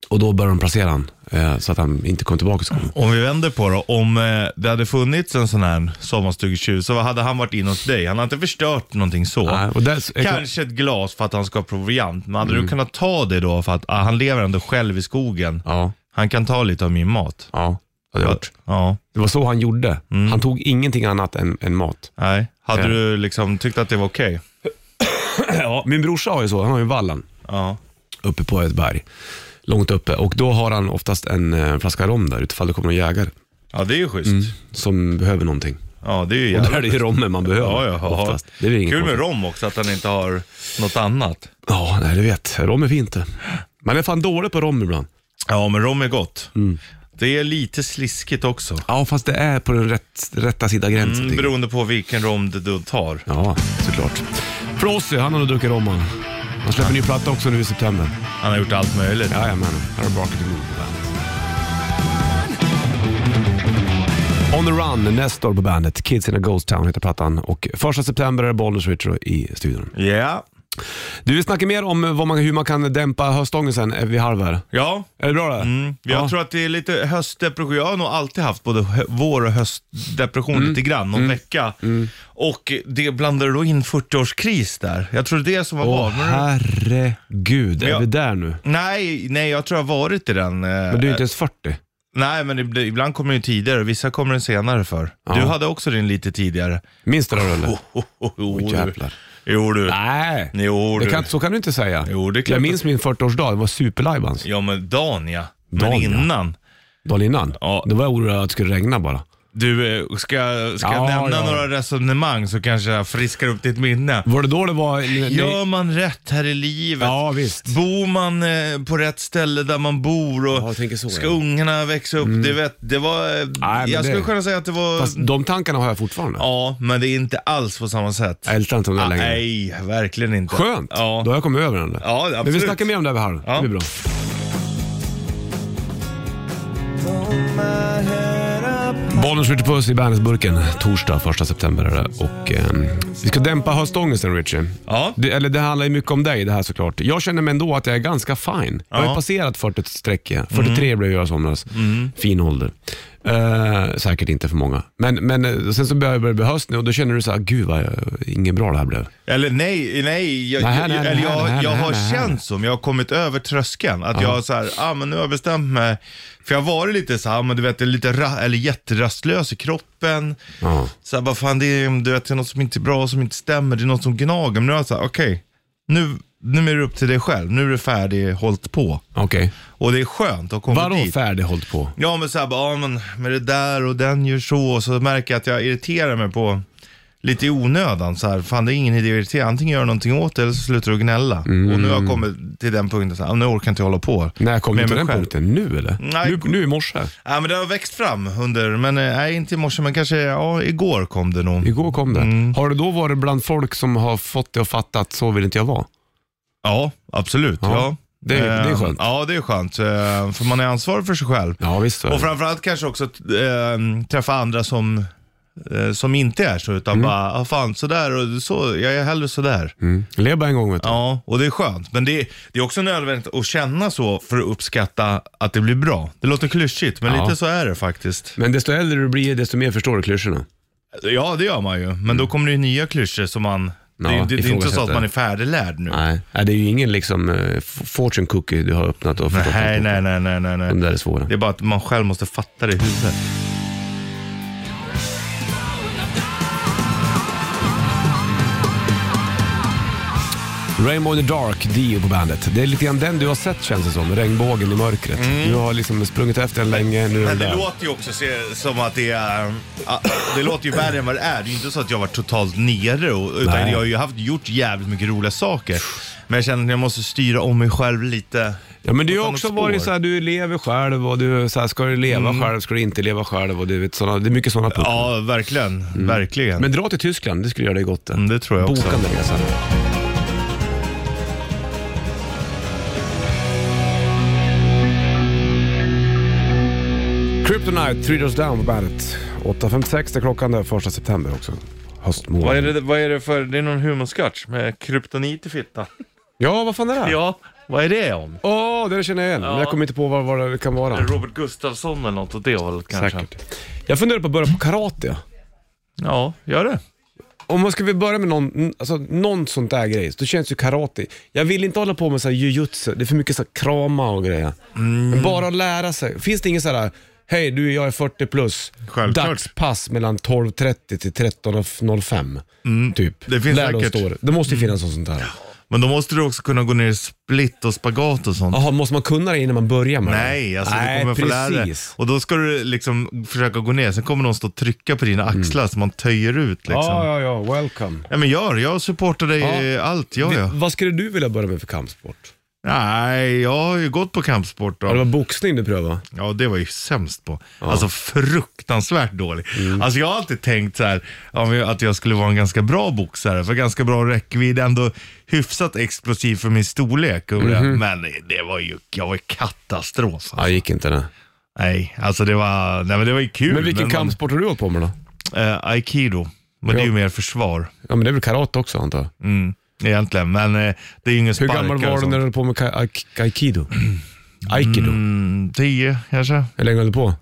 B: Och då började de placera han, eh, så att han inte kom tillbaka till skolan.
C: Om vi vänder på det, om eh, det hade funnits en sån här sommarstugetjuv så hade han varit inne hos dig. Han hade inte förstört någonting så.
B: Nej, och där,
C: Kanske ett glas för att han ska ha proviant, men hade du kunnat ta det då för att ah, han lever ändå själv i skogen.
B: Ja,
C: Han kan ta lite av min mat.
B: ja. Hade jag gjort.
C: Ja,
B: Det var så han gjorde.
C: Mm.
B: Han tog ingenting annat än, än mat.
C: nej. Hade
B: Ja.
C: du liksom tyckt att det var okej?
B: Ja, min brorsa har ju så, han har ju vallan
C: Ja.
B: uppe på ett berg. Långt uppe och då har han oftast en eh, flaska rom där utifall det kommer någon jägare
C: ja, det är ju
B: Mm.
C: schysst.
B: som behöver någonting.
C: Ja, det är ju
B: Och då är
C: jävligt.
B: det ju rommen man behöver
C: Ja, ja, ja.
B: oftast. Det är väl inget
C: Kul med
B: konstigt.
C: rom också, att han inte har något annat.
B: Ja, nej du vet. Rom är fint det. Man är fan dålig på rom ibland.
C: Ja, men rom är gott.
B: Mm.
C: Det är lite sliskigt också.
B: Ja, fast det är på den rätt, rätta sida gränsen.
C: Mm,
B: tycker jag.
C: beroende på vilken rom det du tar.
B: Ja, såklart. Frosty, han har nog druckit rom han. Han släpper ny platta också nu i september.
C: Han har gjort allt möjligt.
B: Jajamän, här har Barker Moon på bandet. On the Run, Nestor på bandet. Kids in a Ghost Town heter plattan. Och första september är det Bollnäs Retro i studion.
C: Ja.
B: Du, vi snackar mer om eh, vad man, hur man kan dämpa höstångesten eh, vid halv här.
C: Ja.
B: Är det bra det?
C: Mm. Jag tror att det är lite höstdepression. Jag har nog alltid haft både hö- vår och höstdepression
B: Mm.
C: lite grann, någon vecka. Och det blandade då in 40-årskris där. Jag tror det är det som har
B: Åh
C: varit. Men-
B: herregud, är
C: Ja.
B: vi där nu?
C: Nej, nej, jag tror jag har varit i den. eh,
B: Men du är inte ens 40.
C: Nej, men ib- ibland kommer den tidigare och vissa kommer den senare för. Du hade också din lite tidigare.
B: Minns du det eller?
C: Oh, oh, oh,
B: Åh,
C: du.
B: jävlar.
C: Jo du.
B: Nej,
C: Jo,
B: det
C: du.
B: kan, så kan du inte säga.
C: Jo, det är klart
B: jag
C: att-
B: minns min 40-årsdag, det var superlajbans.
C: Ja men dagen ja.
B: Dagen,
C: Men
B: ja.
C: innan.
B: Dagen innan.
C: Ja.
B: Då var jag orolig att det skulle regna bara.
C: Du, eh, ska, ska jag
B: Ja,
C: nämna
B: ja.
C: några resonemang så kanske jag friskar upp ditt minne.
B: Var det då det var...
C: Gör man rätt här i livet?
B: Ja, visst.
C: Bor man eh, på rätt ställe där man bor och
B: Ja, jag tänker så,
C: ska
B: ja. Mm.
C: ungarna växa upp? Det, vet, det var... eh,
B: Nej, men
C: jag
B: det-
C: skulle kunna säga att det var...
B: Fast de tankarna har jag fortfarande.
C: Mm. Ja, men det är inte alls på samma sätt.
B: Jag ältar inte de där
C: Ah,
B: längre.
C: Nej, verkligen inte.
B: Skönt!
C: Ja.
B: Då har jag kommit över den. där.
C: Ja, absolut.
B: Men vi snackar mer om det här vid halv.
C: Ja.
B: Det blir bra. Bollnäs skjuter puss i Bandet-burken. Torsdag 1 september är det. Och, ehm, vi ska dämpa höstångesten Richie.
C: Ja.
B: Det, eller det handlar ju mycket om dig det här såklart. Jag känner mig ändå att jag är ganska fine. Jag har ju
C: Ja. Mm.
B: passerat 40-strecket. 43 blev jag i somras. Fin ålder. Eh, säkert inte för många. Men, men eh, sen så börjar det bli höst nu och då känner du så här, gud vad jag- inget bra det här blev.
C: Eller nej, nej. Jag,
B: Nej,
C: jag-
B: nej, nej,
C: eller jag,
B: nej,
C: jag
B: nej,
C: har
B: nej, nej.
C: känt som, jag har kommit över tröskeln. Att jag så här, ah, men nu har jag bestämt mig. För jag har varit lite så här, "Ah, men du vet, lite ra- eller jätterastlös i kroppen.
B: Ja.
C: Så här, vad fan, det är, du vet, det är något som inte är bra, som inte stämmer, det är något som gnager. Men nu har jag så här, okej, nu, nu är det upp till dig själv. Nu är du färdig, hållit på.
B: Okej.
C: Och det är skönt att komma
B: Vadå
C: dit.
B: färdig hållit på?
C: Ja men såhär bara, ja men med det där och den gör så och så märker jag att jag irriterar mig på lite i onödan så här. fan det är ingen idé att irritera, antingen gör jag någonting åt det eller så slutar du gnälla. Och nu har
B: Mm.
C: jag kommit till den punkten så här, ja, nu orkar inte jag hålla på.
B: När kom
C: med
B: du till
C: mig
B: den
C: själv.
B: punkten? Nu eller?
C: Nej.
B: Nu, nu i morse?
C: Ja Äh, men det har växt fram under, men eh, nej inte i morse men kanske, ja igår kom det nog.
B: Igår kom det.
C: Mm.
B: Har du då varit bland folk som har fått det att fatta att så vill inte jag vara?
C: Ja absolut, ja.
B: Ja. Det, det är
C: Eh,
B: skönt.
C: Ja, det är skönt. eh, För man är ansvarig för sig själv.
B: Ja, visst. så är
C: Och
B: det.
C: framförallt kanske också eh, träffa andra som, eh, som inte är så, utan bara, ah, fan sådär och så, jag är hellre sådär.
B: Mm. Lev bara en gång, vet du.
C: Ja, och det är skönt. Men det, det är också nödvändigt att känna så för att uppskatta att det blir bra. Det låter klyschigt, men
B: Ja.
C: lite så är det faktiskt.
B: Men desto äldre du blir, desto mer förstår du klyschorna.
C: Ja, det gör man ju. Men då kommer det ju nya klyschor som man...
B: Mm. Ja,
C: det, är- det, det är inte så att
B: ifrågasätter.
C: man är färdiglärd nu.
B: Nej. Nej, det är ju ingen liksom eh, f- fortune cookie du har öppnat och förstått.
C: Nej,
B: allt.
C: nej, nej, nej, nej. nej.
B: De där är svåra.
C: Det är bara att man själv måste fatta det i huvudet.
B: Rainbow in the Dark, Dio på bandet. Det är lite grann den du har sett känns det som, regnbågen i mörkret. Du har liksom sprungit efter den länge, nu är den
C: Mm. Men det
B: där.
C: låter ju också se- som att det är... ah, Det låter ju värre än vad det är. Det är ju inte så att jag har varit totalt nere. och- Utan
B: Nej.
C: jag har ju haft, gjort jävligt mycket roliga saker. Men jag känner att jag måste styra om mig själv lite.
B: Ja men du har
C: Utan
B: också
C: något
B: varit
C: spår. Mm.
B: så här, du lever själv och du så här, ska du leva själv, ska du inte leva själv och du vet sådana, det är mycket sådana punkter.
C: Ja, verkligen. Verkligen.
B: Men dra till Tyskland, det skulle göra dig gott det.
C: Mm, det tror jag också.
B: Bokande resa. Kryptonite, Three Doors Down på bandet. 8.56 är klockan där, första september också. Höstmål.
C: Vad är, det, vad är det för, det är någon humorsketch med kryptonit i fittan.
B: Ja, vad fan är det? här?
C: Ja, vad är det om?
B: Åh, det där känner jag igen. Men jag kommer inte på vad, vad det kan vara.
C: Robert Gustafsson eller något åt det hållet kanske?
B: Säkert. Jag funderar på att börja på karate.
C: Ja, gör det.
B: Om man ska väl börja med någon, alltså, någon sånt där grej, då känns ju karate. Jag vill inte hålla på med så här jujutsu, det är för mycket så här krama och grejer.
C: Mm.
B: Men bara att lära sig. Finns det ingen så här, hej du jag är 40 plus,
C: Självklart.
B: dagspass mellan 12.30 till 13.05. Typ.
C: Mm. Det finns
B: Lär dig att
C: säkert. Mm.
B: stå det. Det måste ju finnas något sånt där.
C: Men då måste du också kunna gå ner i split och spagat och sånt.
B: Jaha, måste man kunna det innan man börjar med det?
C: Nej, alltså
B: Nej,
C: du kommer
B: precis.
C: få lära dig. Och då ska du liksom försöka gå ner, sen kommer någon stå och trycka på dina axlar så man töjer ut liksom.
B: Mm. Ja,
C: Ja,
B: ja, ja, welcome.
C: men gör, jag supportar dig
B: Ja.
C: i allt, gör
B: Vi-
C: jag.
B: Vad skulle du vilja börja med för kampsport?
C: Nej, jag har ju gått på kampsport
B: Ja, Det
C: då.
B: var boxning du prövade?
C: Ja, det var jag ju sämst på. Alltså fruktansvärt dålig.
B: Mm.
C: Alltså jag har alltid tänkt så här, om jag- att jag skulle vara en ganska bra boxare, för ganska bra räckvidd, ändå hyfsat explosiv för min storlek. och det.
B: Mhm.
C: Men det var ju, jag var ju katastrof. Alltså.
B: Ja, gick inte det.
C: Nej, alltså det var, nej men det var ju kul.
B: Men vilken
C: man-
B: kampsport har du hållit på med då?
C: Eh, Aikido, men det är ju mer försvar
B: Ja, men det är väl karate också antar jag?
C: mm, egentligen. Men eh, det är ju ingen
B: Hur
C: sparkar
B: gammal
C: och
B: var du
C: sånt.
B: när du höll på med ka- ai- aikido? Aikido?
C: Mm, tio kanske. Eh,
B: Hur länge höll du på?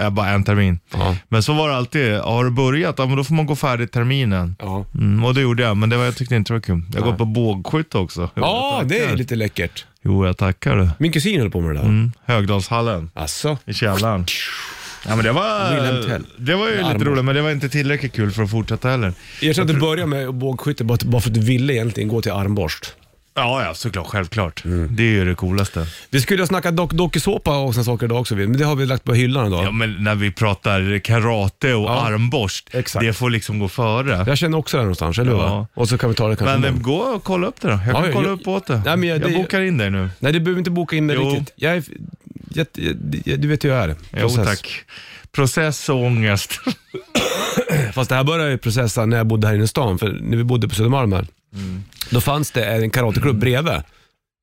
C: eh, bara en termin.
B: Ja.
C: Men så var det alltid. Har du börjat, ja, men då får man gå färdigt terminen.
B: Ja,
C: Mm, och det gjorde jag, men det var, jag tyckte inte det var kul. Jag har gått på bågskytte också. Jo, jag
B: det är
C: tackar.
B: lite läckert.
C: Jo, jag tackar du.
B: Min kusin höll på med det där. Mm.
C: Mm, Högdalshallen
B: Alltså.
C: i källaren. Ja, men det
B: Wilhelm
C: var,
B: Tell.
C: det var ju lite
B: Armbåge.
C: roligt, men det var inte tillräckligt kul för att fortsätta heller.
B: Jag tror att du började med bågskytte bara bara för att du ville egentligen gå till armborst.
C: Ja, ja, såklart. Självklart.
B: Mm.
C: Det är ju det coolaste.
B: Vi skulle ha snackat dock- dokusåpa och sådana saker idag också, men det har vi lagt på hyllan idag.
C: Ja, men när vi pratar karate och
B: Ja,
C: armborst,
B: exakt.
C: det får liksom gå före.
B: Jag känner också det någonstans, eller hur?
C: Ja.
B: va? Och så kan vi ta det kanske
C: Men eh,
B: imorgon.
C: gå och kolla upp det då. Jag kan
B: Ja,
C: kolla
B: jag-
C: upp åt det.
B: Nej, men jag-
C: jag,
B: det-
C: bokar in dig nu.
B: Nej, du behöver inte boka in det
C: Jo.
B: riktigt. Jag är, jag, jag, jag, du vet hur jag är.
C: Jo,
B: Process.
C: tack. Process och ångest.
B: Fast det här började jag ju processa när jag bodde här inne i stan, för när vi bodde på Södermalm här, då fanns det en karateklubb
C: Mm.
B: bredvid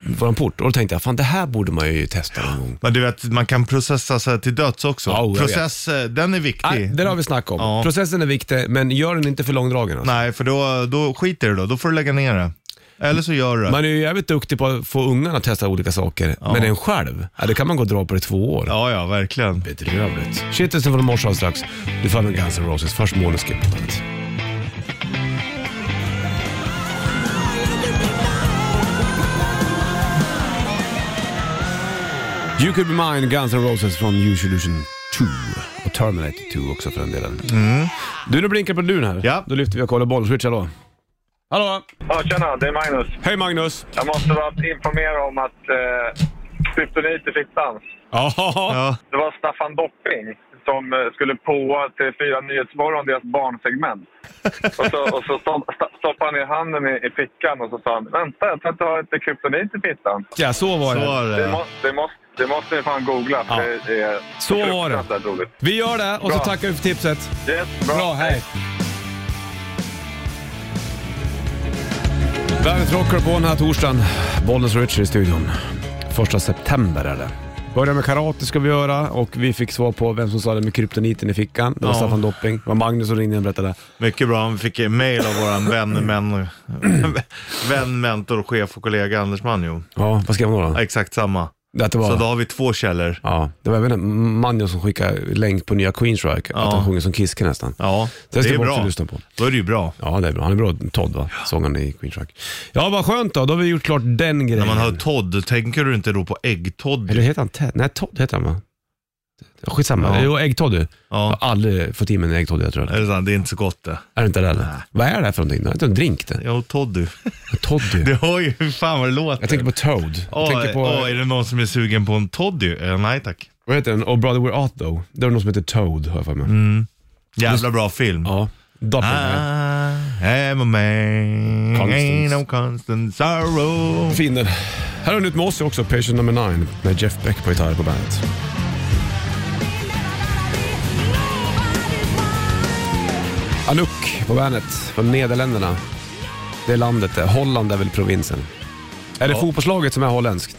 B: vår port och då tänkte jag, fan det här borde man ju testa någon gång.
C: Men du vet, man kan processa sig till döds också.
B: Ja, jag vet.
C: Process, eh, den är
B: Nej,
C: viktig.
B: det har vi snackat om.
C: Ja.
B: Processen är viktig, men gör den inte för långdragen. Alltså.
C: Nej, för då, då skiter du då. Då får du lägga ner det. Eller så gör du det.
B: Man är ju jävligt duktig på att få ungarna att testa olika saker, men en själv, ja, det kan man gå och dra på i två år.
C: Ja, ja, verkligen.
B: Bedrövligt. Shitlisten från morse alldeles strax. Du får även Guns N' Roses, först Måneskin på bandet. You could be mine, Guns N' Roses från Use Illusion 2. Och Terminator 2 också för den delen. Du, nu blinkar på luren här.
C: Mm. Ja.
B: Då lyfter vi och kollar boll. Switch, hallå. Hallå!
E: Ja, tjena, det är Magnus.
B: Hej Magnus!
E: Jag måste bara informera om att eh, kryptonit i fittan.
B: Ja.
C: Ja.
E: Det var Staffan Dopping som eh, skulle på TV4 Nyhetsmorgon, deras barnsegment. Och så, och så stopp, sta- stoppade han ner handen i, i fickan och så sa han “Vänta, jag tror att du har lite kryptonit i fittan”.
B: ja, så var
C: Så
B: det.
C: var
E: Det,
C: det.
E: må, det, måste, det måste ni fan googla, för
B: Ja.
E: det är
B: Så var det.
E: fruktansvärt roligt.
B: Vi gör det och så
E: Bra.
B: tackar vi för tipset.
E: Yes, bra.
B: Bra, hej! Bandet rockar på den här torsdagen. Bollnäs Richie i studion. Första september är det. Börja med karate ska vi göra och vi fick svar på vem som sa det med kryptoniten i fickan. Det var
C: Ja.
B: Staffan Dopping. Det var Magnus som ringde och berättade.
C: Mycket bra. Vi fick mail av vår vän, men, vän, mentor, chef och kollega Anders Manjo.
B: Ja, vad skrev han då? då?
C: Exakt samma.
B: Det, att det,
C: Så då
B: var,
C: har vi två källor.
B: ja, det var även Manjo som skickade länk på nya Queen Strike. Att
C: Ja.
B: han sjunger som Kiske nästan.
C: Ja, det,
B: Det ska
C: är
B: vi också
C: bra.
B: lyssna på.
C: Då är det ju bra.
B: Ja, det är bra. Han är bra, Todd va? Sångaren i Queen Strike. Ja, vad skönt då. Då har vi gjort klart den
C: När
B: grejen.
C: man hör Todd, tänker du inte då på äggtoddy?
B: Eller heter han Ted? Nej, Todd heter han va? Skitsamma.
C: Ja.
B: Jo, äggtoddy. Jag
C: Ja,
B: har aldrig fått i mig en äggtoddy jag tror.
C: är det sant? Det är inte så gott det.
B: Är det inte det eller? Vad är det här för någonting? då? Är det inte en drink det?
C: Ja, Toddy.
B: Toddy?
C: Det har ju, fan vad det låter.
B: Jag tänker på Toad. Jag tänker på,
C: Åh, åh, är det någon som är sugen på en Toddy? Eh, nej tack.
B: vad heter den? Oh Brother We're Out Though. Det var någon som heter Toad har jag för mig.
C: Mm. Jävla bra film.
B: Ja. Doppel.
C: Ah. I am a man,
B: Constance.
C: ain't no constant sorrow.
B: Fin den. Här har du nytt med oss också, Patient Number 9 med Jeff Beck på gitarr på bandet. Anouk på bandet från Nederländerna. Det är landet det. Holland är väl provinsen. Är det fotbollslaget som är holländskt?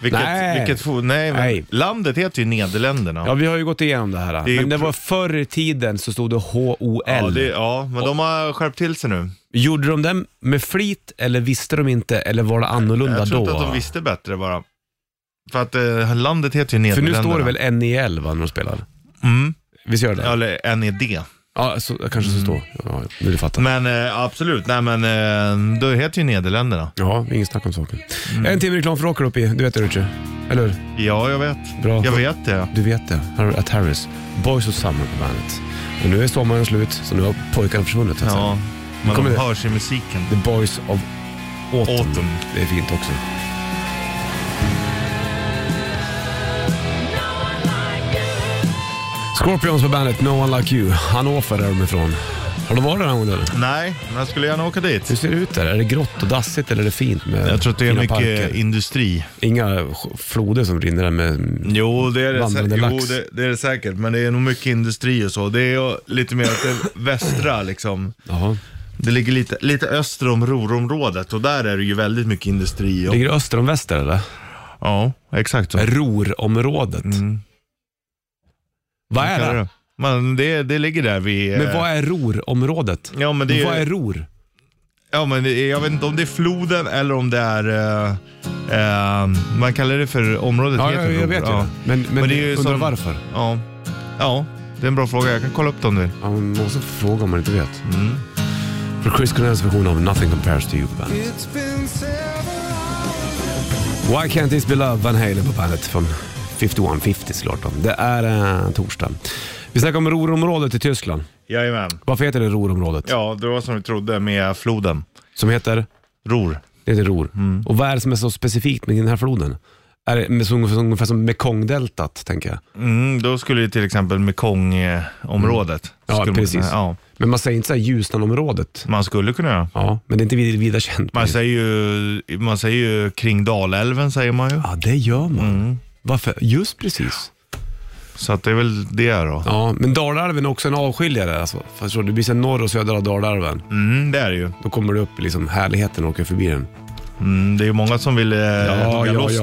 C: Vilket,
B: Nej.
C: Vilket fo- nej, men
B: Nej.
C: Landet heter ju Nederländerna.
B: Ja, vi har ju gått igenom det här.
C: Det är ju
B: men det
C: pro-
B: var förr i tiden så stod det H-O-L.
C: ja, det, ja men de har skärpt till sig nu.
B: Gjorde de det med flit eller visste de inte eller var det annorlunda
C: Jag tror
B: då?
C: inte att de visste bättre bara. För att eh, landet
B: För
C: heter ju
B: nu
C: Nederländerna.
B: står det väl NEL va, när de spelar?
C: Mm.
B: Visst gör det?
C: Ja, Eller NED.
B: Ja, så, kanske så står. Ja, ja, nu du fattar.
C: Mm. Men eh, absolut, nej men eh, då heter ju Nederländerna.
B: Ja, inget snack om saken.
C: Mm.
B: En timme reklam för rocker uppe i. Du vet det Richie? Eller hur?
C: Ja, jag vet.
B: Bra.
C: Jag vet det.
B: Du vet det. Här har du At Harris. Boys of Summer på bandet. Och nu är sommaren slut, så nu har pojkarna försvunnit. Alltså.
C: Ja, men
B: Kommer
C: de
B: det?
C: hörs i musiken.
B: The Boys of Autumn.
C: Autumn.
B: Det är fint också. Scorpions på bandet, No One Like You. Hannover är de ifrån. Har du varit där någon gång eller?
C: Nej, men jag skulle gärna åka dit.
B: Hur ser det ut där? Är det grått och dassigt eller är det fint med
C: Jag tror att det är
B: fina
C: mycket
B: parker?
C: industri.
B: Inga sj- floder som rinner där med...
C: Jo, det är det,
B: Vandrande
C: sä- jo
B: lax.
C: det, det är det säkert, men det är nog mycket industri och så. Det är ju lite mer att det är västra liksom.
B: Jaha.
C: Det ligger lite, lite öster om Rorområdet och där är det ju väldigt mycket industri. Och,
B: Ligger det öster om väster eller?
C: ja, exakt så.
B: Rorområdet. Vad är det?
C: Men det, det ligger där vid... eh,
B: Men vad är rorområdet?
C: Ja men, det
B: Vad är
C: är,
B: ror?
C: ja, men det är, jag vet inte om det är floden eller om det är... eh, eh, man kallar det för området
B: Ja,
C: heter
B: jag, jag
C: Ror,
B: vet ju
C: ja.
B: det. Men, men,
C: Men det är ju
B: undrar
C: som-
B: varför?
C: Ja. ja, det är en bra fråga. Jag kan kolla upp det om du vill.
B: Ja, man måste fråga om man inte vet.
C: Mm.
B: För Chris Cornells version av Nothing Compares To You på bandet. Why Can't This Be Love, Van Halen på bandet från 5150 såklart. då. Det är eh, torsdag. Vi snackar om Rorområdet i Tyskland.
C: Jajamän.
B: Varför heter det Rorområdet?
C: Ja, det var som vi trodde med floden.
B: Som heter?
C: Ror.
B: Det heter Ror.
C: Mm.
B: Och vad är det som är så specifikt med den här floden? Är det med, så, ungefär som Mekongdeltat, tänker jag.
C: Mm, då skulle ju till exempel Mekongområdet.
B: Mm. Ja,
C: skulle
B: precis.
C: Man, ja,
B: Men man säger inte så här Ljusnanområdet.
C: man skulle kunna göra.
B: Ja, men det är inte vid- vida känt.
C: Man säger, ju, man säger ju kring Dalälven, säger man ju.
B: Ja, det gör man.
C: Mm.
B: Varför? Just precis.
C: Så att det är väl det då.
B: Ja, men Dalälven är också en avskiljare. Alltså. Förstår du? Det blir sen norr och söder av Dalälven.
C: Mm, det är det ju.
B: Då kommer du upp liksom härligheten och åker förbi den.
C: Mm, det är ju många som vill eh, hugga loss.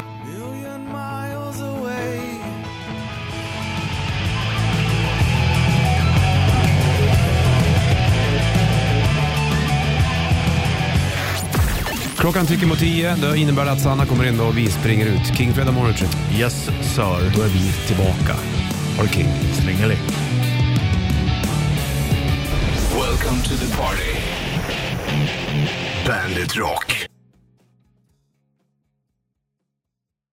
B: Klockan trycker mot tio. Det innebär att Sanna kommer in då och vi springer ut. King Fredag morgon, tror jag.
C: Yes sir.
B: Då är vi tillbaka. Har du King?
C: Slingeling.
A: Welcome to the party. Bandit Rock.